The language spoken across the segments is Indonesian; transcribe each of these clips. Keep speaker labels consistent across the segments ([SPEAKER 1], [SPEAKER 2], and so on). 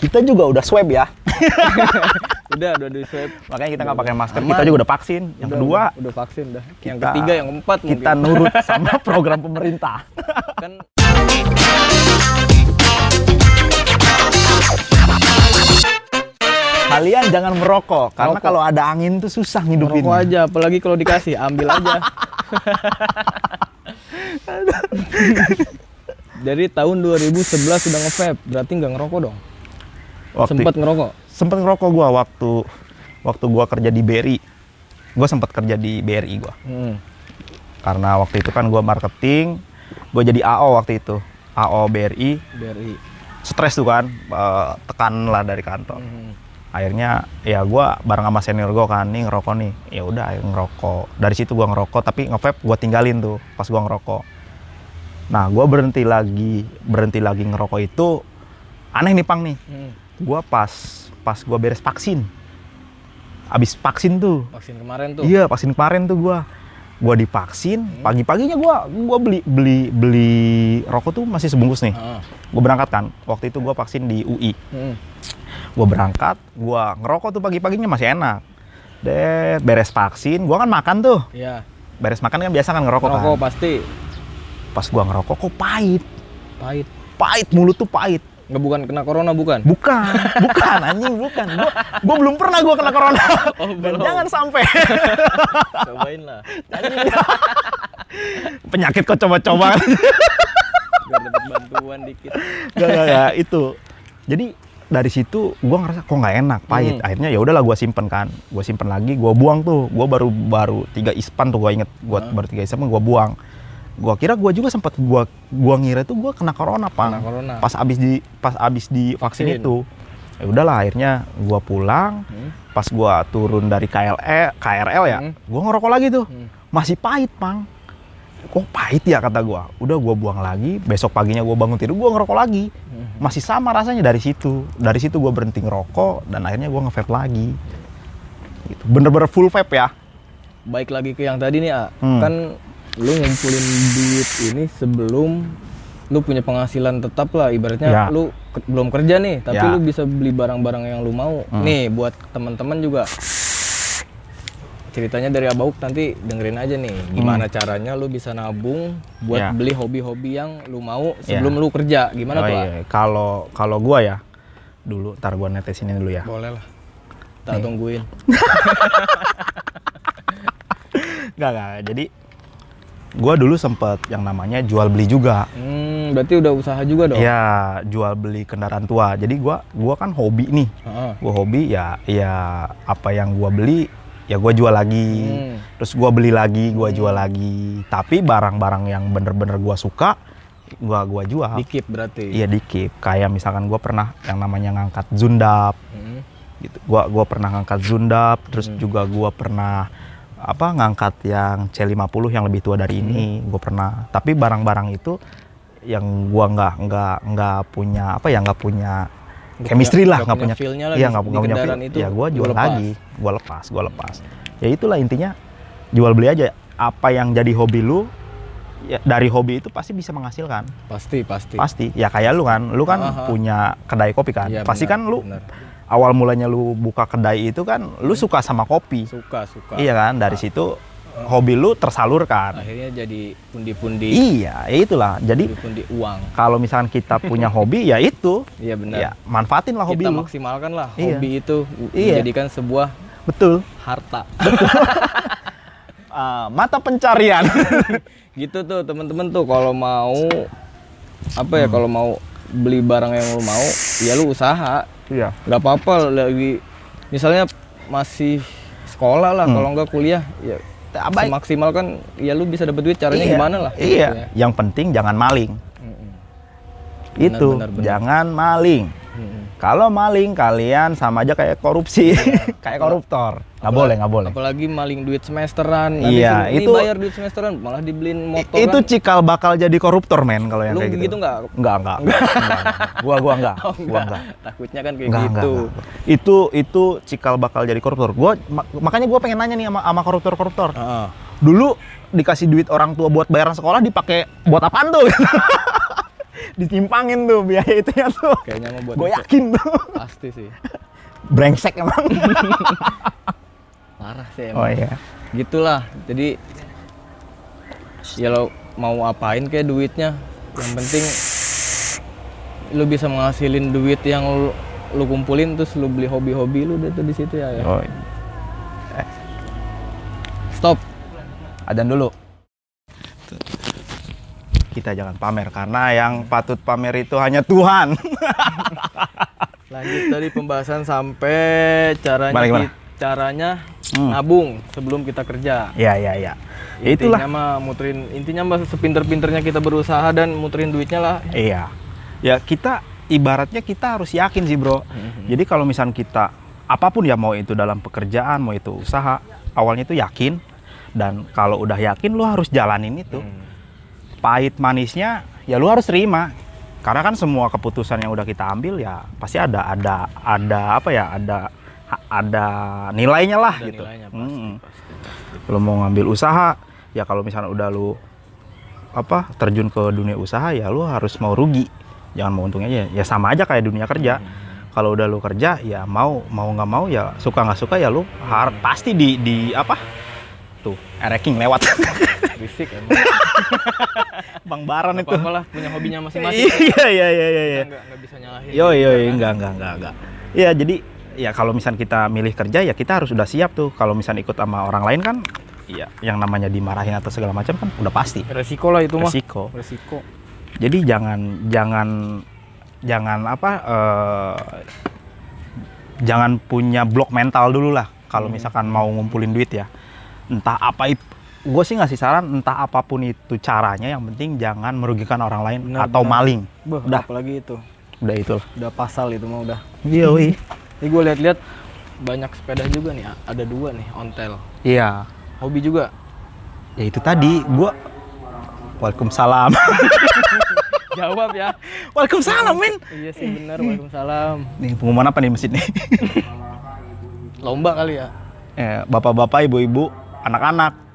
[SPEAKER 1] Kita juga udah swab ya.
[SPEAKER 2] udah udah di swab
[SPEAKER 1] Makanya kita nggak pakai masker.
[SPEAKER 2] Aman.
[SPEAKER 1] Kita juga udah vaksin. Yang
[SPEAKER 2] Udah,
[SPEAKER 1] kedua,
[SPEAKER 2] udah, udah vaksin dah yang
[SPEAKER 1] kita-
[SPEAKER 2] ketiga yang keempat
[SPEAKER 1] kita
[SPEAKER 2] mungkin.
[SPEAKER 1] nurut sama program pemerintah.
[SPEAKER 2] kan
[SPEAKER 1] Kalian jangan merokok karena
[SPEAKER 2] Merokok.
[SPEAKER 1] kalau ada angin tuh susah ngidupin.
[SPEAKER 2] merokok aja apalagi kalau dikasih ambil aja dari tahun 2011 sudah nge-vape berarti nggak ngerokok dong
[SPEAKER 1] Waktu
[SPEAKER 2] sempat ngerokok
[SPEAKER 1] sempet ngerokok gua waktu waktu gua kerja di BRI. Gua sempat kerja di BRI gua.
[SPEAKER 2] Hmm.
[SPEAKER 1] Karena waktu itu kan gua marketing, gua jadi AO waktu itu. AO BRI,
[SPEAKER 2] BRI
[SPEAKER 1] stres tuh kan, eh, tekan lah dari kantor.
[SPEAKER 2] Hmm.
[SPEAKER 1] Akhirnya ya gua bareng sama senior gua kan nih ngerokok nih. Ya udah ayo ngerokok. Dari situ gua ngerokok tapi nge-vape gua tinggalin tuh pas gua ngerokok. Nah, gua berhenti lagi, berhenti lagi ngerokok itu aneh nih Pang nih.
[SPEAKER 2] Hmm.
[SPEAKER 1] Gua pas pas gua beres vaksin. Abis vaksin tuh.
[SPEAKER 2] vaksin kemarin tuh Hmm.
[SPEAKER 1] Iya, vaksin kemarin tuh gua. Gua divaksin, pagi-paginya gua gua beli beli beli rokok tuh masih sebungkus nih.
[SPEAKER 2] Ah.
[SPEAKER 1] Gua berangkat kan. Waktu itu gua vaksin di UI.
[SPEAKER 2] Hmm.
[SPEAKER 1] Gua berangkat, gua ngerokok tuh pagi-paginya masih enak. Deh, beres vaksin, gua kan makan tuh.
[SPEAKER 2] Iya,
[SPEAKER 1] Beres makan kan biasa kan ngerokok
[SPEAKER 2] ngerokok
[SPEAKER 1] kan.
[SPEAKER 2] pasti
[SPEAKER 1] Pas gua ngerokok kok pahit.
[SPEAKER 2] pahit.
[SPEAKER 1] Pahit mulut tuh pahit.
[SPEAKER 2] Nggak bukan kena corona bukan?
[SPEAKER 1] Bukan, bukan anjing, bukan. Gua, gua belum pernah gua kena corona.
[SPEAKER 2] Oh,
[SPEAKER 1] Dan
[SPEAKER 2] belum.
[SPEAKER 1] jangan sampai
[SPEAKER 2] Cobain lah.
[SPEAKER 1] penyakit kok coba-coba.
[SPEAKER 2] Biar dapat bantuan dikit.
[SPEAKER 1] gak, gak, gak, itu jadi dari situ gua ngerasa kok nggak enak pahit
[SPEAKER 2] Hmm.
[SPEAKER 1] akhirnya ya udahlah gua simpen kan gua simpen lagi gua buang tuh gua baru baru tiga ispan tuh gua inget gua
[SPEAKER 2] Hmm.
[SPEAKER 1] baru tiga ispan gua buang gua kira gua juga sempat gua gua ngira tuh gua kena corona pak
[SPEAKER 2] Kena corona.
[SPEAKER 1] pas abis di pas abis di vaksin
[SPEAKER 2] Vaksin.
[SPEAKER 1] itu ya udahlah akhirnya gua pulang
[SPEAKER 2] Hmm.
[SPEAKER 1] pas gua turun dari KLE KRL ya
[SPEAKER 2] Hmm.
[SPEAKER 1] gua ngerokok lagi tuh
[SPEAKER 2] Hmm.
[SPEAKER 1] masih pahit pang kok pahit ya kata gua udah gua buang lagi besok paginya gua bangun tidur gua ngerokok lagi
[SPEAKER 2] Hmm.
[SPEAKER 1] masih sama rasanya dari situ dari situ gua berhenti ngerokok dan akhirnya gua nge-vape lagi gitu. bener-bener full vape ya
[SPEAKER 2] Baik lagi ke yang tadi nih, A.
[SPEAKER 1] Hmm.
[SPEAKER 2] Kan lu ngumpulin duit ini sebelum lu punya penghasilan tetap lah ibaratnya
[SPEAKER 1] Ya.
[SPEAKER 2] lu ke- belum kerja nih tapi
[SPEAKER 1] Ya. Hmm.
[SPEAKER 2] lu bisa beli barang-barang yang lu mau nih buat teman-teman juga ceritanya dari Abauk nanti dengerin aja nih gimana caranya lu bisa nabung buat
[SPEAKER 1] Hmm. Ya.
[SPEAKER 2] beli hobi-hobi yang lu mau sebelum lu kerja gimana
[SPEAKER 1] Oh
[SPEAKER 2] tuh A?
[SPEAKER 1] iya, kalau kalau gua ya dulu ntar gua netesin ini dulu ya
[SPEAKER 2] Boleh lah. Tak tungguin.
[SPEAKER 1] Gak, gak, jadi gua dulu sempet yang namanya jual beli juga
[SPEAKER 2] Hmm, berarti udah usaha juga dong?
[SPEAKER 1] ya jual beli kendaraan tua jadi gua gua kan hobi nih
[SPEAKER 2] Heeh.
[SPEAKER 1] gue hobi ya ya apa yang gua beli ya gua jual lagi
[SPEAKER 2] Hmm.
[SPEAKER 1] terus gua beli lagi gua jual lagi tapi barang-barang yang bener-bener gua suka gua gua jual
[SPEAKER 2] Dikit berarti.
[SPEAKER 1] iya dikit kayak misalkan gua pernah yang namanya ngangkat zundap
[SPEAKER 2] Hmm.
[SPEAKER 1] gitu gua gua pernah ngangkat zundap terus juga gua pernah apa ngangkat yang C50 yang lebih tua dari
[SPEAKER 2] Hmm.
[SPEAKER 1] ini gua pernah tapi barang-barang itu yang gua nggak nggak nggak punya apa ya nggak punya
[SPEAKER 2] Nggak
[SPEAKER 1] chemistry
[SPEAKER 2] punya-
[SPEAKER 1] lah
[SPEAKER 2] nggak
[SPEAKER 1] nggak
[SPEAKER 2] punya
[SPEAKER 1] punya
[SPEAKER 2] feel-nya
[SPEAKER 1] iya
[SPEAKER 2] lah di-
[SPEAKER 1] nggak
[SPEAKER 2] di
[SPEAKER 1] nggak punya
[SPEAKER 2] kendaraan
[SPEAKER 1] feel.
[SPEAKER 2] itu.
[SPEAKER 1] ya gua
[SPEAKER 2] Lu
[SPEAKER 1] jual
[SPEAKER 2] lepas.
[SPEAKER 1] lagi gua lepas gua lepas ya itulah intinya jual beli aja apa yang jadi hobi lu ya dari hobi itu pasti bisa menghasilkan
[SPEAKER 2] Pasti, pasti.
[SPEAKER 1] pasti ya kayak lu kan lu kan
[SPEAKER 2] Iya. Aha.
[SPEAKER 1] punya kedai kopi kan
[SPEAKER 2] Iya,
[SPEAKER 1] pasti
[SPEAKER 2] benar,
[SPEAKER 1] kan lu
[SPEAKER 2] benar.
[SPEAKER 1] awal mulanya lu buka kedai itu kan lu suka sama kopi
[SPEAKER 2] Hmm. Suka, Ah. suka.
[SPEAKER 1] iya kan dari situ hobi lu tersalurkan
[SPEAKER 2] Akhirnya jadi pundi-pundi
[SPEAKER 1] iya ya itulah jadi
[SPEAKER 2] pundi-pundi uang.
[SPEAKER 1] kalau misalkan kita punya hobi ya itu
[SPEAKER 2] Iya benar.
[SPEAKER 1] ya manfaatin lah hobi
[SPEAKER 2] Kita
[SPEAKER 1] lu
[SPEAKER 2] maksimalkan lah
[SPEAKER 1] Iya.
[SPEAKER 2] hobi itu u-
[SPEAKER 1] Iya.
[SPEAKER 2] menjadikan sebuah
[SPEAKER 1] betul
[SPEAKER 2] harta.
[SPEAKER 1] Ah, mata pencarian
[SPEAKER 2] gitu tuh temen-temen tuh kalau mau apa
[SPEAKER 1] Hmm.
[SPEAKER 2] ya kalau mau beli barang yang lu mau, ya lu usaha.
[SPEAKER 1] iya
[SPEAKER 2] nggak apa-apa lagi misalnya masih sekolah lah
[SPEAKER 1] Hmm.
[SPEAKER 2] kalau nggak kuliah ya
[SPEAKER 1] Abai.
[SPEAKER 2] maksimal kan ya lu bisa dapat duit caranya
[SPEAKER 1] Iya,
[SPEAKER 2] gimana lah
[SPEAKER 1] Iya.
[SPEAKER 2] gitu ya.
[SPEAKER 1] Yang penting jangan maling.
[SPEAKER 2] Mm-mm.
[SPEAKER 1] itu
[SPEAKER 2] benar, benar.
[SPEAKER 1] jangan maling.
[SPEAKER 2] Mm-mm.
[SPEAKER 1] Kalau maling kalian sama aja kayak korupsi,
[SPEAKER 2] Iya.
[SPEAKER 1] kayak koruptor. Nggak boleh, nggak boleh.
[SPEAKER 2] apalagi maling duit semesteran nanti
[SPEAKER 1] Iya,
[SPEAKER 2] suruh, "Nih,
[SPEAKER 1] itu-
[SPEAKER 2] bayar duit semesteran malah dibeliin motor
[SPEAKER 1] I- Itu
[SPEAKER 2] kan.
[SPEAKER 1] cikal bakal jadi koruptor men kalau yang
[SPEAKER 2] Lu
[SPEAKER 1] kayak gitu.
[SPEAKER 2] gitu nggak?
[SPEAKER 1] Enggak, enggak. Enggak, enggak. Gua gua enggak.
[SPEAKER 2] Oh,
[SPEAKER 1] Gua
[SPEAKER 2] enggak.
[SPEAKER 1] enggak.
[SPEAKER 2] takutnya kan kayak
[SPEAKER 1] Enggak, enggak,
[SPEAKER 2] gitu
[SPEAKER 1] enggak. Itu itu cikal bakal jadi koruptor. Gua mak- makanya gua pengen nanya nih sama sama koruptor-koruptor.
[SPEAKER 2] Heeh.
[SPEAKER 1] Dulu dikasih duit orang tua buat bayaran sekolah dipakai buat apaan tuh? ditimpangin tuh biaya itu ya tuh.
[SPEAKER 2] Kayaknya mau buat
[SPEAKER 1] Gue
[SPEAKER 2] itu.
[SPEAKER 1] yakin tuh.
[SPEAKER 2] Pasti sih.
[SPEAKER 1] Brengsek emang.
[SPEAKER 2] Parah sih
[SPEAKER 1] oh
[SPEAKER 2] emang.
[SPEAKER 1] iya.
[SPEAKER 2] Gitulah. Jadi ya lo mau apain kayak duitnya. Yang penting lu bisa menghasilin duit yang lu, lu kumpulin terus lu beli hobi-hobi lu deh tuh di situ ya. ya.
[SPEAKER 1] Oh,
[SPEAKER 2] Stop.
[SPEAKER 1] adan dulu. Kita jangan pamer karena yang patut pamer itu hanya Tuhan.
[SPEAKER 2] Lanjut dari pembahasan sampai caranya
[SPEAKER 1] Balik mana?
[SPEAKER 2] ki- caranya
[SPEAKER 1] Hmm.
[SPEAKER 2] nabung sebelum kita kerja.
[SPEAKER 1] ya ya
[SPEAKER 2] iya.
[SPEAKER 1] ya. Ya itulah.
[SPEAKER 2] Intinya mah muterin intinya mah sepinter-pinternya kita berusaha dan muterin duitnya lah.
[SPEAKER 1] Iya. Ya kita ibaratnya kita harus yakin sih bro.
[SPEAKER 2] Mhm.
[SPEAKER 1] Jadi kalau misalnya kita apapun ya mau itu dalam pekerjaan mau itu usaha awalnya itu yakin dan kalau udah yakin lu harus jalanin itu.
[SPEAKER 2] Mhm.
[SPEAKER 1] Pahit manisnya ya lu harus terima. Karena kan semua keputusan yang udah kita ambil ya pasti ada ada ada apa ya ada ada nilainya lah
[SPEAKER 2] Ada
[SPEAKER 1] gitu.
[SPEAKER 2] nilainya, pasti,
[SPEAKER 1] Mm-mm.
[SPEAKER 2] pasti.
[SPEAKER 1] Lu mau ngambil usaha ya kalau misalnya udah lu apa terjun ke dunia usaha ya lu harus mau rugi jangan mau untung aja ya sama aja kayak dunia kerja kalau udah lu kerja ya mau mau nggak mau ya suka nggak suka ya lu har pasti di di apa tuh ereking lewat
[SPEAKER 2] Berisik emang.
[SPEAKER 1] bang Baron itu
[SPEAKER 2] Apa-apa lah punya hobinya masing-masing.
[SPEAKER 1] iya iya iya iya iya.
[SPEAKER 2] Nggak, nggak bisa nyalahin.
[SPEAKER 1] yo yo yo, enggak enggak enggak enggak ya jadi ya kalau misalnya kita milih kerja ya kita harus udah siap tuh kalau misalnya ikut sama orang lain kan ya yang namanya dimarahin atau segala macam kan udah pasti
[SPEAKER 2] Resiko lah itu mah.
[SPEAKER 1] resiko
[SPEAKER 2] Resiko.
[SPEAKER 1] jadi jangan jangan jangan apa eh, jangan punya blok mental dulu lah
[SPEAKER 2] Hmm.
[SPEAKER 1] kalau misalkan mau ngumpulin duit ya entah apa gue sih ngasih saran entah apapun itu caranya yang penting jangan merugikan orang lain
[SPEAKER 2] Benar,
[SPEAKER 1] atau
[SPEAKER 2] benar.
[SPEAKER 1] maling
[SPEAKER 2] Bah,
[SPEAKER 1] Udah.
[SPEAKER 2] apalagi itu.
[SPEAKER 1] udah itu
[SPEAKER 2] Udah pasal itu mah udah.
[SPEAKER 1] Yoi.
[SPEAKER 2] Ini gue lihat-lihat banyak sepeda juga nih. Ada dua nih ontel.
[SPEAKER 1] iya
[SPEAKER 2] Hobi juga.
[SPEAKER 1] ya itu tadi gue Waalaikumsalam
[SPEAKER 2] Jawab ya.
[SPEAKER 1] Waalaikumsalam men
[SPEAKER 2] Iya sih benar. Waalaikumsalam.
[SPEAKER 1] nih pengumuman apa nih di masjid nih
[SPEAKER 2] Lomba kali ya.
[SPEAKER 1] Eh, bapak-bapak ibu-ibu anak-anak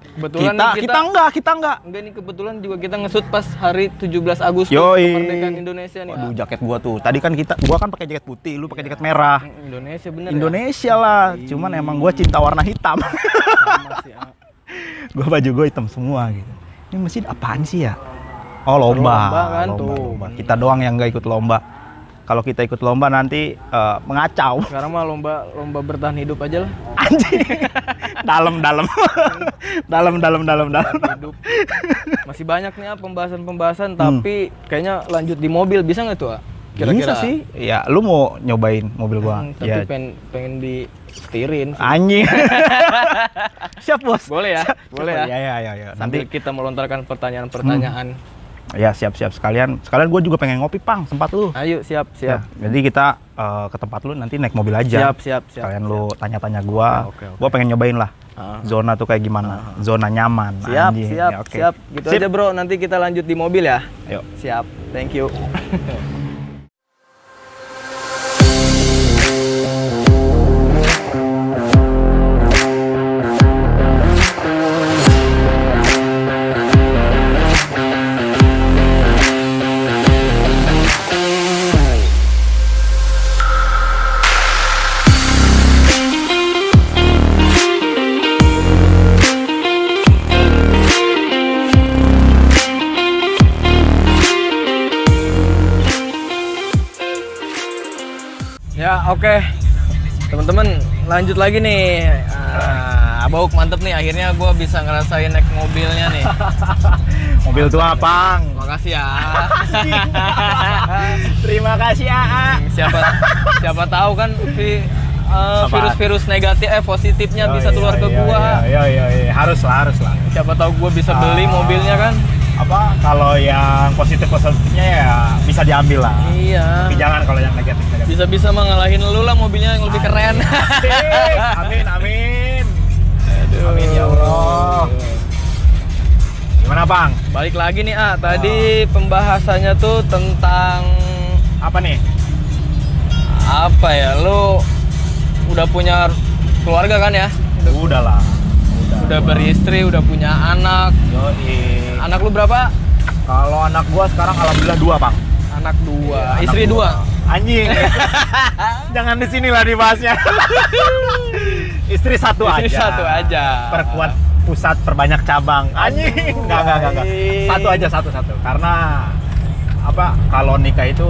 [SPEAKER 1] kita,
[SPEAKER 2] Kebetulan nih kita-
[SPEAKER 1] kita enggak kita enggak
[SPEAKER 2] Enggak nih kebetulan juga kita ngesut pas hari 17 Agustus
[SPEAKER 1] Yoi.
[SPEAKER 2] kemerdekaan Indonesia nih.
[SPEAKER 1] Waduh jaket gua tuh. Tadi kan kita gua kan pakai jaket putih, lu pakai jaket merah.
[SPEAKER 2] Ah, Indonesia bener
[SPEAKER 1] Indonesia lah. Cuman emang gua cinta warna hitam.
[SPEAKER 2] ya. Sama sih, ah.
[SPEAKER 1] gua baju gua hitam semua gitu. Ini mesin apaan sih ya? Oh lomba.
[SPEAKER 2] Lomba kan tuh.
[SPEAKER 1] lomba. Kita doang yang nggak ikut lomba. Kalau kita ikut lomba nanti eh, mengacau.
[SPEAKER 2] Sekarang mah lomba lomba bertahan hidup aja lah.
[SPEAKER 1] Anjing. dalam dalam. dalam dalam dalam dalam.
[SPEAKER 2] Bertahan hidup. Masih banyak nih ah,
[SPEAKER 1] Hmm.
[SPEAKER 2] pembahasan-pembahasan tapi kayaknya lanjut di mobil bisa nggak tuh? ah?
[SPEAKER 1] Bisa
[SPEAKER 2] Kira-kira
[SPEAKER 1] sih. Ya, lu mau nyobain mobil gua?
[SPEAKER 2] Hmm, tapi
[SPEAKER 1] Ya.
[SPEAKER 2] pengen pengen di setirin.
[SPEAKER 1] Anjing. Siap, Bos.
[SPEAKER 2] Boleh ya? Boleh ya.
[SPEAKER 1] Ya, ya, ya, ya. Nanti
[SPEAKER 2] Nanti kita melontarkan pertanyaan-pertanyaan.
[SPEAKER 1] Ya siap-siap sekalian. Sekalian gue juga pengen ngopi pang sempat lu.
[SPEAKER 2] Ayo siap
[SPEAKER 1] Ya,
[SPEAKER 2] siap.
[SPEAKER 1] jadi kita eh, ke tempat lu nanti naik mobil aja.
[SPEAKER 2] Iya. Siap siap siap.
[SPEAKER 1] sekalian lu tanya-tanya gua.
[SPEAKER 2] Ya, oke, oke.
[SPEAKER 1] Gua pengen nyobain lah.
[SPEAKER 2] Ah.
[SPEAKER 1] Zona tuh kayak gimana? Zona nyaman.
[SPEAKER 2] Siap,
[SPEAKER 1] anjing.
[SPEAKER 2] siap,
[SPEAKER 1] Ya, oke.
[SPEAKER 2] siap. Gitu
[SPEAKER 1] Sip.
[SPEAKER 2] aja bro, nanti kita lanjut di mobil ya.
[SPEAKER 1] Ayo.
[SPEAKER 2] Siap, thank you. ya oke, teman-teman lanjut lagi nih. Ah, Bauk mantep nih, akhirnya gue bisa ngerasain naik mobilnya nih.
[SPEAKER 1] Mobil tua pang.
[SPEAKER 2] Makasih ya.
[SPEAKER 1] Terima kasih AA.
[SPEAKER 2] siapa siapa tahu kan vi- eh,
[SPEAKER 1] Apaan? Oh,
[SPEAKER 2] virus-virus negatif eh positifnya bisa keluar ke gua.
[SPEAKER 1] Iya iya iya harus lah harus lah.
[SPEAKER 2] Siapa tahu gua bisa beli
[SPEAKER 1] Ah.
[SPEAKER 2] mobilnya kan?
[SPEAKER 1] Apa kalau yang positif positifnya ya bisa diambil lah.
[SPEAKER 2] Iya.
[SPEAKER 1] jangan kalau yang negatif negatif.
[SPEAKER 2] Bisa-bisa mah ngalahin lu lah mobilnya yang lebih keren.
[SPEAKER 1] Amin amin. Amin ya Allah. Gimana bang?
[SPEAKER 2] Balik lagi nih, ah. Tadi pembahasannya tuh tentang
[SPEAKER 1] Apa nih?
[SPEAKER 2] apa ya? Lu udah punya keluarga kan ya?
[SPEAKER 1] Udah lah.
[SPEAKER 2] Udah beristri, udah punya anak.
[SPEAKER 1] Yoi.
[SPEAKER 2] Anak lu berapa?
[SPEAKER 1] Kalau Iya, anak gua sekarang alhamdulillah dua bang.
[SPEAKER 2] anak dua, istri dua.
[SPEAKER 1] Anjing. Jangan di sini lah dibahasnya. Istri satu
[SPEAKER 2] Istri
[SPEAKER 1] aja.
[SPEAKER 2] satu aja.
[SPEAKER 1] Perkuat pusat perbanyak cabang. Anjing. Enggak enggak enggak. enggak.
[SPEAKER 2] Anjing.
[SPEAKER 1] Satu aja satu satu. Karena apa kalau nikah itu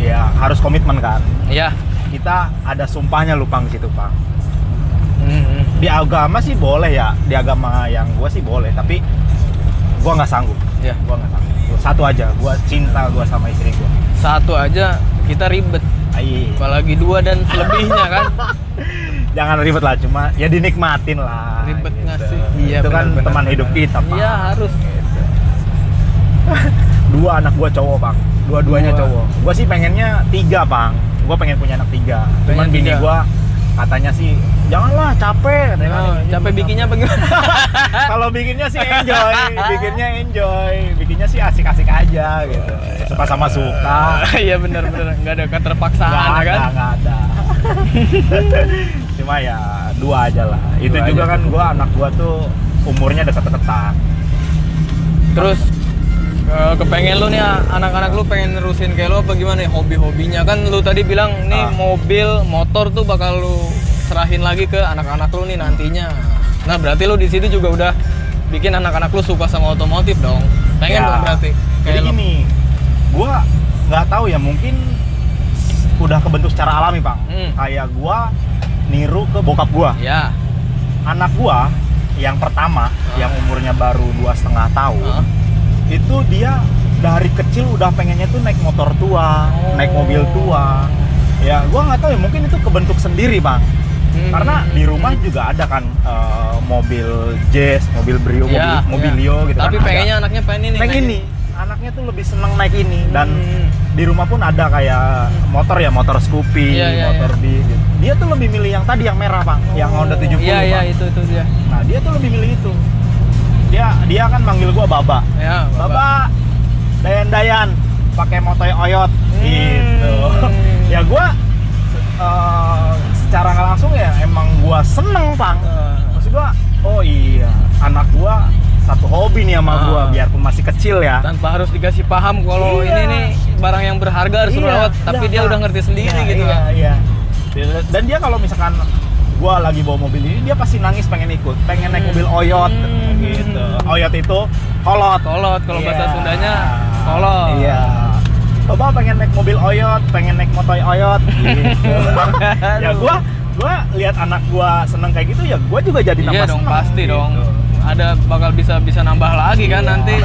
[SPEAKER 1] ya harus komitmen kan.
[SPEAKER 2] Iya.
[SPEAKER 1] Kita ada sumpahnya lu Pang di situ, Pang.
[SPEAKER 2] Mm-mm.
[SPEAKER 1] Di agama sih boleh ya. Di agama yang gua sih boleh, tapi gua nggak sanggup.
[SPEAKER 2] Iya.
[SPEAKER 1] Gua nggak sanggup. Satu aja, gua cinta gua sama istri gua.
[SPEAKER 2] Satu aja kita ribet.
[SPEAKER 1] Ai.
[SPEAKER 2] Apalagi dua dan selebihnya kan.
[SPEAKER 1] jangan ribet lah cuma ya dinikmatin lah
[SPEAKER 2] Ribet nggak sih?
[SPEAKER 1] iya,
[SPEAKER 2] Iya,
[SPEAKER 1] itu kan
[SPEAKER 2] benar-benar,
[SPEAKER 1] teman
[SPEAKER 2] benar.
[SPEAKER 1] hidup kita pak
[SPEAKER 2] Iya harus.
[SPEAKER 1] Gitu. dua anak gua cowok pak dua-duanya
[SPEAKER 2] Dua.
[SPEAKER 1] cowok gua sih pengennya tiga pak gua pengen punya anak tiga cuman
[SPEAKER 2] Pengen
[SPEAKER 1] bini
[SPEAKER 2] tiga.
[SPEAKER 1] gua katanya sih janganlah capek katanya
[SPEAKER 2] Oh,
[SPEAKER 1] kan.
[SPEAKER 2] capek Ah. bikinnya bagaimana?
[SPEAKER 1] kalau bikinnya sih enjoy bikinnya enjoy bikinnya sih asik-asik aja gitu suka sama suka
[SPEAKER 2] Iya benar-benar nggak ada keterpaksaan
[SPEAKER 1] Ah. Nggak
[SPEAKER 2] kan.
[SPEAKER 1] ada, nggak ada. Cuma ya dua aja lah. Itu
[SPEAKER 2] Dua
[SPEAKER 1] juga
[SPEAKER 2] aja
[SPEAKER 1] kan
[SPEAKER 2] cukup.
[SPEAKER 1] gua anak gua tuh umurnya dekat-dekatan.
[SPEAKER 2] Terus eh, kepengen lu nih anak-anak lu pengen nerusin kayak lu apa gimana ya hobi-hobinya kan lu tadi bilang nih
[SPEAKER 1] Ah.
[SPEAKER 2] mobil motor tuh bakal lu serahin lagi ke anak-anak lu nih nantinya. Nah berarti lu di situ juga udah bikin anak-anak lu suka sama otomotif dong.
[SPEAKER 1] Ya.
[SPEAKER 2] Pengen dong berarti.
[SPEAKER 1] Jadi
[SPEAKER 2] Kayak lu.
[SPEAKER 1] gini, gua nggak tahu ya mungkin s- udah kebentuk secara alami, Bang.
[SPEAKER 2] Hmm.
[SPEAKER 1] Kayak gua niru ke bokap gua.
[SPEAKER 2] Ya.
[SPEAKER 1] Anak gua yang pertama
[SPEAKER 2] Ah.
[SPEAKER 1] yang umurnya baru dua setengah tahun
[SPEAKER 2] Hah?
[SPEAKER 1] itu dia dari kecil udah pengennya tuh naik motor tua,
[SPEAKER 2] Oh.
[SPEAKER 1] naik mobil tua. Ya, gua nggak tahu ya mungkin itu kebentuk sendiri, Bang.
[SPEAKER 2] Hmm.
[SPEAKER 1] karena di rumah juga ada kan eh, mobil jazz, mobil brio,
[SPEAKER 2] Ya,
[SPEAKER 1] mobil
[SPEAKER 2] ya.
[SPEAKER 1] mobilio gitu kan.
[SPEAKER 2] Tapi
[SPEAKER 1] ada.
[SPEAKER 2] pengennya anaknya pengen ini.
[SPEAKER 1] naik
[SPEAKER 2] naik
[SPEAKER 1] ini, anaknya tuh lebih seneng naik ini dan
[SPEAKER 2] Hmm.
[SPEAKER 1] di rumah pun ada kayak motor ya motor Scoopy,
[SPEAKER 2] Iya, iya,
[SPEAKER 1] motor
[SPEAKER 2] iya.
[SPEAKER 1] di gitu. Dia tuh lebih milih yang tadi yang merah, Bang, yang Honda 70.
[SPEAKER 2] Iya iya
[SPEAKER 1] Bang.
[SPEAKER 2] itu itu dia.
[SPEAKER 1] Nah, dia tuh lebih milih itu. Dia dia kan manggil gua Baba.
[SPEAKER 2] Ya, Bapak.
[SPEAKER 1] Bapak Dayan-dayan pakai motor oyot
[SPEAKER 2] Hmm.
[SPEAKER 1] gitu. ya gua eh, secara nggak langsung ya emang gua seneng, Pang.
[SPEAKER 2] Eh,
[SPEAKER 1] Maksud gua, oh iya, anak gua satu hobi nih sama gua
[SPEAKER 2] Ah.
[SPEAKER 1] biarpun masih kecil ya.
[SPEAKER 2] tanpa harus dikasih paham kalau
[SPEAKER 1] Iya.
[SPEAKER 2] ini nih barang yang berharga harus
[SPEAKER 1] Iya,
[SPEAKER 2] dirawat tapi
[SPEAKER 1] iya,
[SPEAKER 2] dia
[SPEAKER 1] Pak.
[SPEAKER 2] udah ngerti sendiri
[SPEAKER 1] Iya,
[SPEAKER 2] gitu
[SPEAKER 1] iya,
[SPEAKER 2] kan
[SPEAKER 1] Iya. Dan- Dan dia kalau misalkan gua lagi bawa mobil ini dia pasti nangis pengen ikut, pengen naik
[SPEAKER 2] Hmm.
[SPEAKER 1] mobil oyot
[SPEAKER 2] Hmm.
[SPEAKER 1] gitu. Oyot itu kolot.
[SPEAKER 2] kolot kalau bahasa
[SPEAKER 1] Iya.
[SPEAKER 2] Sundanya kolot
[SPEAKER 1] Iya. Coba pengen naik mobil oyot, pengen naik motor oyot gitu. ya
[SPEAKER 2] Aduh.
[SPEAKER 1] gua gua lihat anak gua seneng kayak gitu ya gua juga jadi
[SPEAKER 2] iya
[SPEAKER 1] nambah
[SPEAKER 2] dong
[SPEAKER 1] seneng,
[SPEAKER 2] pasti
[SPEAKER 1] gitu.
[SPEAKER 2] dong ada bakal bisa bisa nambah lagi kan
[SPEAKER 1] Iya.
[SPEAKER 2] nanti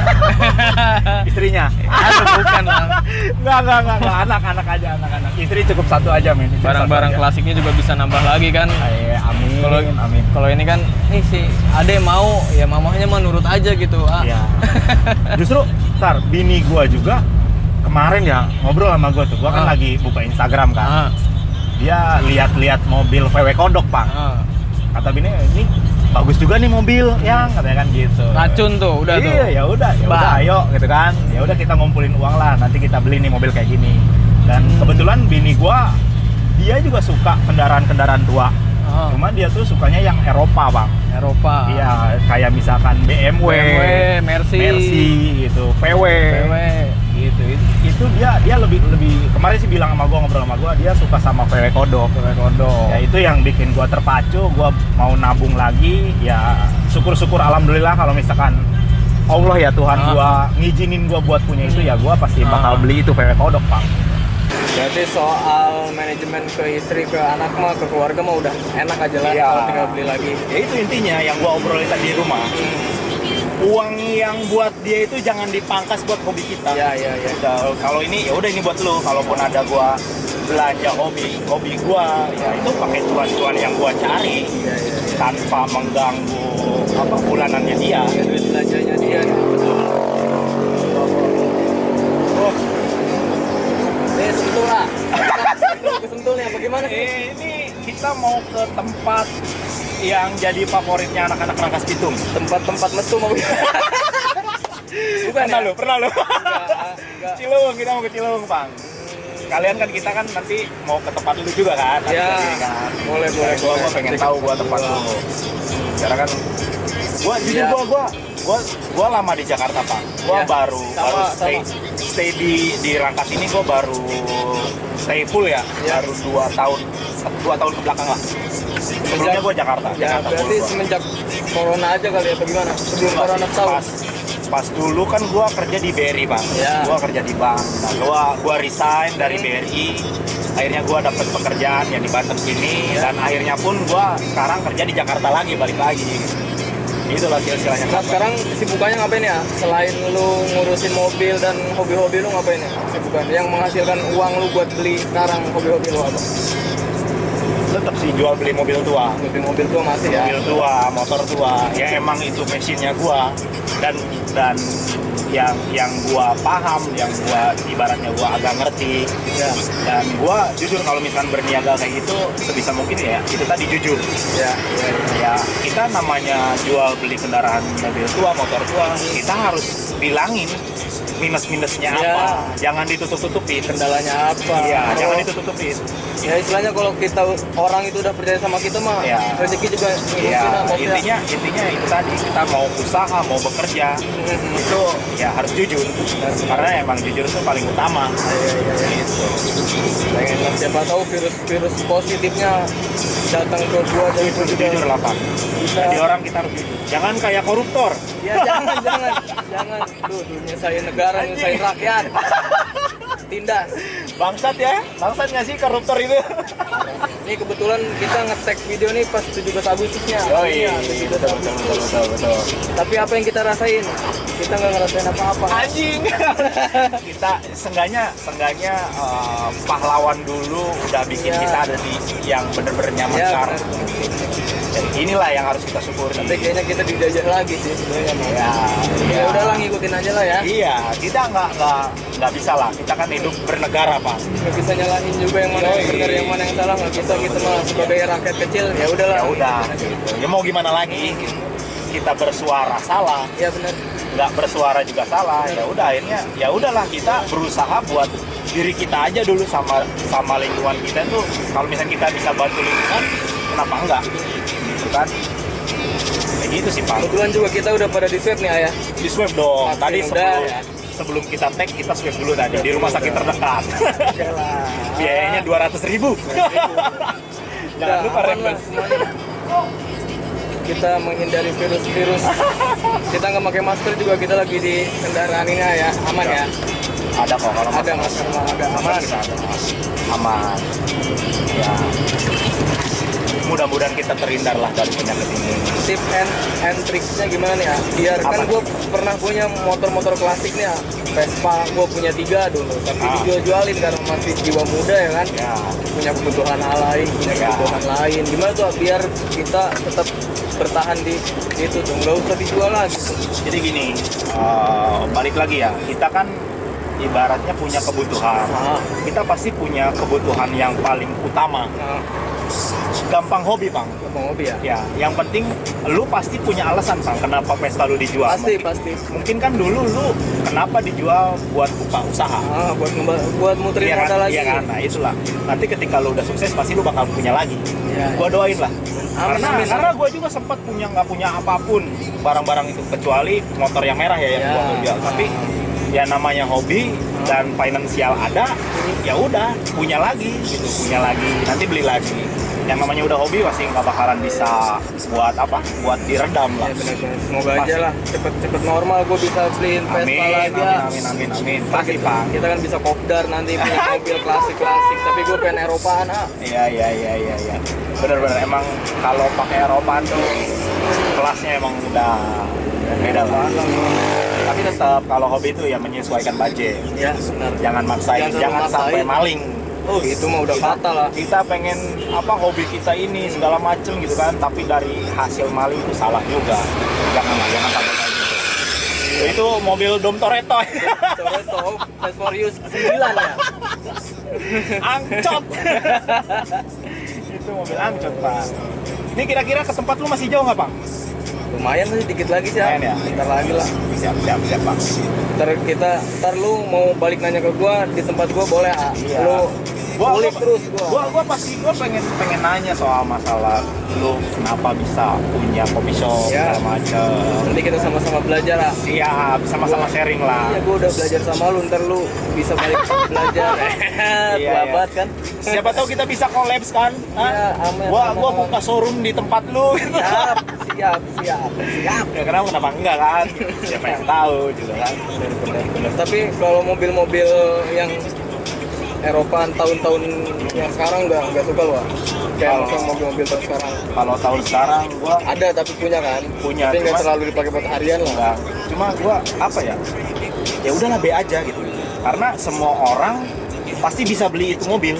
[SPEAKER 1] Istrinya.
[SPEAKER 2] Aduh, bukan lah
[SPEAKER 1] Enggak, enggak, enggak, enggak. anak-anak aja, anak-anak. Istri cukup satu aja, men. Istri
[SPEAKER 2] barang-barang
[SPEAKER 1] satu aja.
[SPEAKER 2] klasiknya juga bisa nambah lagi kan
[SPEAKER 1] Iya, amin.
[SPEAKER 2] kalau
[SPEAKER 1] amin.
[SPEAKER 2] kalau ini kan nih si ade mau ya mamahnya menurut aja gitu ah
[SPEAKER 1] Iya. Justru, ntar bini gua juga kemarin ya ngobrol sama gua tuh. Gua kan
[SPEAKER 2] Ah.
[SPEAKER 1] lagi buka Instagram kan.
[SPEAKER 2] ah,
[SPEAKER 1] Dia lihat-lihat mobil VW kodok, Pak.
[SPEAKER 2] ah.
[SPEAKER 1] Kata bini, ini bagus juga nih mobil yang katanya kan gitu.
[SPEAKER 2] racun tuh udah tuh
[SPEAKER 1] iya, ya udah, ya
[SPEAKER 2] Bah.
[SPEAKER 1] udah, ayo gitu kan. Ya udah kita ngumpulin uang lah, nanti kita beli nih mobil kayak gini. Dan
[SPEAKER 2] Hmm.
[SPEAKER 1] kebetulan bini gua dia juga suka kendaraan-kendaraan tua.
[SPEAKER 2] Ah,
[SPEAKER 1] Cuma dia tuh sukanya yang Eropa, Bang.
[SPEAKER 2] Eropa
[SPEAKER 1] Iya, kayak misalkan BMW,
[SPEAKER 2] BMW Mercy,
[SPEAKER 1] Mercy gitu, VW.
[SPEAKER 2] PW gitu itu
[SPEAKER 1] Itu dia dia lebih lebih kemarin sih bilang sama gua ngobrol sama gua, dia suka sama VW kodok.
[SPEAKER 2] PW kodok
[SPEAKER 1] Ya itu yang bikin gua terpacu, gua mau nabung lagi. Ya syukur-sykur alhamdulillah kalau misalkan Allah ya Tuhan
[SPEAKER 2] Ah.
[SPEAKER 1] gua ngizinin gua buat punya itu ya gua pasti bakal
[SPEAKER 2] Ah.
[SPEAKER 1] beli itu VW kodok, Pak.
[SPEAKER 2] berarti soal manajemen ke istri ke anak mah ke keluarga mah udah enak aja lah
[SPEAKER 1] Iya.
[SPEAKER 2] kalau tinggal beli lagi
[SPEAKER 1] Ya itu intinya yang gua obrolin tadi di rumah. Uang yang buat dia itu jangan dipangkas buat hobi kita.
[SPEAKER 2] Iya, iya, iya.
[SPEAKER 1] Udah, Kalau ini ya udah ini buat lu. Kalaupun ada gua belanja hobi, hobi gua ya itu pakai cuan-cuan yang gua cari
[SPEAKER 2] iya iya iya
[SPEAKER 1] tanpa mengganggu apa bulanannya dia.
[SPEAKER 2] Ya, duit belanjanya dia gitu. betul
[SPEAKER 1] Oh,
[SPEAKER 2] Nih, sentuh lah Nah, kesentul nih bagaimana sih
[SPEAKER 1] eh, ini kita mau ke tempat yang jadi favoritnya anak-anak Rangkas Bitung.
[SPEAKER 2] tempat-tempat metu mau bukan
[SPEAKER 1] Pernah
[SPEAKER 2] ya?
[SPEAKER 1] lu, pernah lu.
[SPEAKER 2] Enggak, ah, enggak.
[SPEAKER 1] Cilung, kita mau ke Cilung, Bang. sekalian kan kita kan nanti mau ke tempat lu juga kan nanti
[SPEAKER 2] Ya.
[SPEAKER 1] kesini kan.
[SPEAKER 2] Boleh, boleh,
[SPEAKER 1] gua, gua
[SPEAKER 2] boleh.
[SPEAKER 1] pengen tahu gua tempat lu karena kan gua jujur
[SPEAKER 2] Ya.
[SPEAKER 1] gua gua gua gua lama di Jakarta pak gua
[SPEAKER 2] Ya.
[SPEAKER 1] baru
[SPEAKER 2] Sama,
[SPEAKER 1] baru stay stay di di Rangkas ini gua baru stay full ya,
[SPEAKER 2] Ya.
[SPEAKER 1] baru dua tahun dua tahun ke belakang lah sebelumnya gua Jakarta
[SPEAKER 2] Ya,
[SPEAKER 1] Jakarta
[SPEAKER 2] berarti
[SPEAKER 1] full gua.
[SPEAKER 2] semenjak corona aja kali ya, atau gimana? Sebelum
[SPEAKER 1] Pas-
[SPEAKER 2] corona tahu.
[SPEAKER 1] pas, pas dulu kan gua kerja di BRI bang
[SPEAKER 2] Ya.
[SPEAKER 1] gua kerja di bank nah, gua gua resign dari BRI akhirnya gua dapet pekerjaan yang di Banten sini
[SPEAKER 2] Ya.
[SPEAKER 1] dan akhirnya pun gua sekarang kerja di Jakarta lagi balik lagi itulah silsilahnya
[SPEAKER 2] Nah sekarang sibukannya ngapain ya? Selain lu ngurusin mobil dan hobi-hobi lu ngapain ya? Sibukan yang menghasilkan uang lu buat beli sekarang hobi-hobi lu apa?
[SPEAKER 1] tetap sih jual beli mobil tua
[SPEAKER 2] Mobil-mobil tua masih ya.
[SPEAKER 1] mobil tua motor tua ya emang itu mesinnya gua dan dan yang yang gua paham yang gua ibaratnya gua agak ngerti
[SPEAKER 2] Ya,
[SPEAKER 1] dan gua jujur kalau misalkan berniaga kayak gitu sebisa mungkin ya itu tadi jujur
[SPEAKER 2] ya, ya.
[SPEAKER 1] ya kita namanya jual beli kendaraan mobil tua motor tua kita harus bilangin minus minusnya
[SPEAKER 2] Iya.
[SPEAKER 1] apa jangan ditutup tutupin
[SPEAKER 2] Kendalanya apa?
[SPEAKER 1] iya
[SPEAKER 2] Kalau-
[SPEAKER 1] jangan ditutup tutupin
[SPEAKER 2] Ya istilahnya kalau kita orang itu udah percaya sama kita mah
[SPEAKER 1] Ya.
[SPEAKER 2] rezeki juga ngikutin lah,
[SPEAKER 1] Iya,
[SPEAKER 2] maksudnya.
[SPEAKER 1] intinya intinya itu tadi kita mau usaha mau bekerja
[SPEAKER 2] Mhm.
[SPEAKER 1] itu ya harus jujur karena emang jujur itu paling utama
[SPEAKER 2] Iya, iya, iya.
[SPEAKER 1] gitu.
[SPEAKER 2] Pengen lah, siapa tahu virus-virus positifnya datang ke gua dari itu juga
[SPEAKER 1] jujur lah Pak.
[SPEAKER 2] bisa.
[SPEAKER 1] jadi orang kita harus jujur jangan kayak koruptor
[SPEAKER 2] Ya jangan, jangan, jangan. Duh, dunia saya negara, dunia saya rakyat. Tindas.
[SPEAKER 1] bangsat ya bangsat nggak sih koruptor itu
[SPEAKER 2] Ini kebetulan kita ngetek video nih pas 17 Agustusnya.
[SPEAKER 1] oh iya
[SPEAKER 2] Iya, 17
[SPEAKER 1] betul betul
[SPEAKER 2] Agustus.
[SPEAKER 1] betul betul, betul.
[SPEAKER 2] Tapi apa yang kita rasain? Kita nggak ngerasain apa-apa.
[SPEAKER 1] anjing kita sengganya sengganya pahlawan dulu udah bikin
[SPEAKER 2] Iya.
[SPEAKER 1] kita ada di yang bener-bener nyaman
[SPEAKER 2] Ya,
[SPEAKER 1] sekarang
[SPEAKER 2] benar.
[SPEAKER 1] Dan inilah yang harus kita syukuri
[SPEAKER 2] Tapi kayaknya kita dijajah lagi sih sebenarnya. Mas.
[SPEAKER 1] ya,
[SPEAKER 2] Ya udahlah ngikutin aja lah ya.
[SPEAKER 1] Iya, kita nggak nggak nggak bisa lah. Kita kan hidup bernegara pak.
[SPEAKER 2] Nggak bisa nyalahin juga yang mana yang
[SPEAKER 1] Yoi.
[SPEAKER 2] benar, yang mana yang salah. Nggak bisa kita mah sebagai rakyat kecil. Ya udahlah.
[SPEAKER 1] Ya udah, gitu. ya mau gimana lagi? gitu. Kita bersuara salah,
[SPEAKER 2] Ya benar.
[SPEAKER 1] nggak bersuara juga salah. Ya udah akhirnya, ya udahlah kita berusaha buat diri kita aja dulu sama sama lingkungan kita tuh. Kalau misalnya kita bisa bantu lingkungan, kenapa enggak? Gitu kan? Kayak gitu sih pak.
[SPEAKER 2] Kebetulan juga kita udah pada di swab nih ayah.
[SPEAKER 1] Di swab dong.
[SPEAKER 2] Makin
[SPEAKER 1] Tadi
[SPEAKER 2] udah,
[SPEAKER 1] sebelum
[SPEAKER 2] ya.
[SPEAKER 1] sebelum kita tag kita swab dulu tadi di rumah sakit terdekat.
[SPEAKER 2] Yalah.
[SPEAKER 1] Biayanya dua ratus ribu. Jangan lupa
[SPEAKER 2] aman lah
[SPEAKER 1] referensi.
[SPEAKER 2] semuanya. Kita menghindari virus-virus. kita nggak pakai masker juga kita lagi di kendaraan ini ya aman ya.
[SPEAKER 1] Ada kok kalau
[SPEAKER 2] Ada
[SPEAKER 1] mas.
[SPEAKER 2] masker mah, ada aman.
[SPEAKER 1] Kita ada mas. Aman. Ya. Mudah-mudahan kita terhindar lah dari penyakit ini.
[SPEAKER 2] Tip and, and tricksnya gimana nih ya? Biar kan
[SPEAKER 1] Apa?
[SPEAKER 2] gue pernah punya motor-motor klasik nih ya. Vespa gue punya tiga dulu, tapi
[SPEAKER 1] Ah.
[SPEAKER 2] dijual-jualin karena masih jiwa muda ya kan.
[SPEAKER 1] Ya.
[SPEAKER 2] punya kebutuhan lain, punya
[SPEAKER 1] Ya.
[SPEAKER 2] kebutuhan lain. Gimana tuh biar kita tetap bertahan di itu tuh nggak usah dijual lagi.
[SPEAKER 1] Jadi gini, eh, balik lagi ya. Kita kan ibaratnya punya kebutuhan.
[SPEAKER 2] Ah.
[SPEAKER 1] Kita pasti punya kebutuhan yang paling utama.
[SPEAKER 2] Nah,
[SPEAKER 1] Gampang hobi, Bang.
[SPEAKER 2] ngomong hobi ya.
[SPEAKER 1] Ya, yang penting lu pasti punya alasan, Bang, kenapa Vespa lu dijual.
[SPEAKER 2] Pasti pasti.
[SPEAKER 1] mungkin kan dulu lu kenapa dijual buat buka usaha
[SPEAKER 2] Ah, buat ngemba- buat
[SPEAKER 1] Iya
[SPEAKER 2] muterin modal
[SPEAKER 1] kan,
[SPEAKER 2] lagi.
[SPEAKER 1] iya kan, nah itulah. Nanti ketika lu udah sukses pasti lu bakal punya lagi.
[SPEAKER 2] Iya.
[SPEAKER 1] Gua doain lah.
[SPEAKER 2] Amin,
[SPEAKER 1] karena
[SPEAKER 2] amin,
[SPEAKER 1] karena gua juga sempat punya nggak punya apapun barang-barang itu kecuali motor yang merah ya yang
[SPEAKER 2] Iya.
[SPEAKER 1] gua ambil. Tapi ya namanya hobi dan finansial ada, ya udah punya lagi gitu, punya lagi. Nanti beli lagi. Yang namanya udah hobi pasti nggak bakalan bisa buat apa? Buat diredam lah.
[SPEAKER 2] Ya, benar-benar. Semoga aja
[SPEAKER 1] Pasti.
[SPEAKER 2] lah cepet-cepet normal gue bisa beliin
[SPEAKER 1] Amin,
[SPEAKER 2] Vespa lagi
[SPEAKER 1] amin,
[SPEAKER 2] ya.
[SPEAKER 1] amin, amin, amin.
[SPEAKER 2] Ntar
[SPEAKER 1] Pasti,
[SPEAKER 2] kita,
[SPEAKER 1] Pak.
[SPEAKER 2] kita kan bisa kopdar nanti punya mobil klasik-klasik. Tapi gue pengen Eropaan ah.
[SPEAKER 1] Iya iya iya iya iya. Bener-bener emang kalau pakai Eropa tuh kelasnya emang udah beda lah. Tapi tetap kalau hobi itu ya menyesuaikan budget.
[SPEAKER 2] Ya benar.
[SPEAKER 1] Jangan maksain,
[SPEAKER 2] Jangan
[SPEAKER 1] jangan,
[SPEAKER 2] maksain.
[SPEAKER 1] sampai maling.
[SPEAKER 2] Oh itu mah udah
[SPEAKER 1] Kita-
[SPEAKER 2] fatal ah. lah.
[SPEAKER 1] Kita pengen apa hobi kita ini segala macem gitu kan, tapi dari hasil maling itu salah juga. Jangan lah, jangan sampai kayak gitu. Itu mobil Dom Toretto,
[SPEAKER 2] Soalnya top Fast for Use 9 ya.
[SPEAKER 1] angcot. itu mobil angcot pak. Ini kira-kira ke tempat lu masih jauh nggak bang?
[SPEAKER 2] lumayan sih dikit lagi sih
[SPEAKER 1] Lumayan ya?
[SPEAKER 2] ntar lagi lah
[SPEAKER 1] siap siap siap bang
[SPEAKER 2] ntar kita ntar lu mau balik nanya ke gua di tempat gua boleh ah
[SPEAKER 1] Iya.
[SPEAKER 2] lu
[SPEAKER 1] gua,
[SPEAKER 2] kulik terus gua,
[SPEAKER 1] gua gua pasti gua pengen pengen nanya soal masalah lu kenapa bisa punya kopi shop
[SPEAKER 2] Ya.
[SPEAKER 1] segala macem
[SPEAKER 2] nanti kita sama-sama belajar ah
[SPEAKER 1] siap sama-sama sharing
[SPEAKER 2] Iya,
[SPEAKER 1] lah
[SPEAKER 2] gua udah belajar sama lu, ntar lu bisa balik belajar.
[SPEAKER 1] Iya,
[SPEAKER 2] Tua
[SPEAKER 1] iya.
[SPEAKER 2] banget kan?
[SPEAKER 1] siapa tahu kita bisa collabs kan
[SPEAKER 2] Iya,
[SPEAKER 1] Hah? gua
[SPEAKER 2] amin.
[SPEAKER 1] gua
[SPEAKER 2] Sama-sama.
[SPEAKER 1] buka showroom di tempat lu gitu.
[SPEAKER 2] Siap, siap, siap, siap.
[SPEAKER 1] ya kenapa kenapa enggak kan siapa yang tahu juga kan
[SPEAKER 2] Tapi kalau mobil-mobil yang Eropaan tahun-tahun yang sekarang nggak nggak suka lu, ah? kayak
[SPEAKER 1] Kalau-
[SPEAKER 2] langsung mobil-mobil tahun sekarang.
[SPEAKER 1] kalau tahun sekarang gua
[SPEAKER 2] Ada tapi punya kan?
[SPEAKER 1] Punya,
[SPEAKER 2] Tapi nggak
[SPEAKER 1] cuman-
[SPEAKER 2] terlalu dipakai buat harian lah.
[SPEAKER 1] Enggak. Cuma gua apa ya? Ya udahlah B aja gitu. Karena semua orang pasti bisa beli itu mobil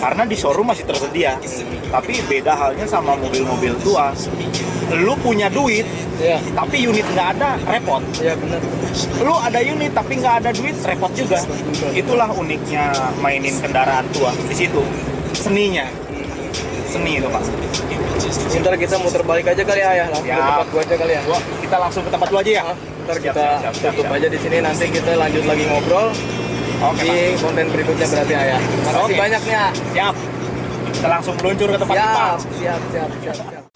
[SPEAKER 1] karena di showroom masih tersedia. Tapi beda halnya sama mobil-mobil tua. Lu punya duit
[SPEAKER 2] Iya,
[SPEAKER 1] tapi unit nggak ada repot.
[SPEAKER 2] iya benar.
[SPEAKER 1] Lu ada unit tapi nggak ada duit repot juga. Itulah uniknya mainin kendaraan tua di situ. Seninya. Seni itu Pak.
[SPEAKER 2] Ntar kita muter balik aja kali ya, ya langsung ke
[SPEAKER 1] Siap.
[SPEAKER 2] tempat gua aja kali ya.
[SPEAKER 1] Gua kita langsung ke tempat lu aja ya.
[SPEAKER 2] Ah,
[SPEAKER 1] Siap,
[SPEAKER 2] Ntar kita
[SPEAKER 1] siap, siap, siap,
[SPEAKER 2] tutup
[SPEAKER 1] siap.
[SPEAKER 2] aja di sini nanti kita lanjut lagi ngobrol.
[SPEAKER 1] Oke, Pak.
[SPEAKER 2] di konten berikutnya berarti ayah. Makasih
[SPEAKER 1] Oke.
[SPEAKER 2] banyaknya.
[SPEAKER 1] Siap. Kita langsung meluncur ke tempat Jepang.
[SPEAKER 2] siap, siap, siap, siap.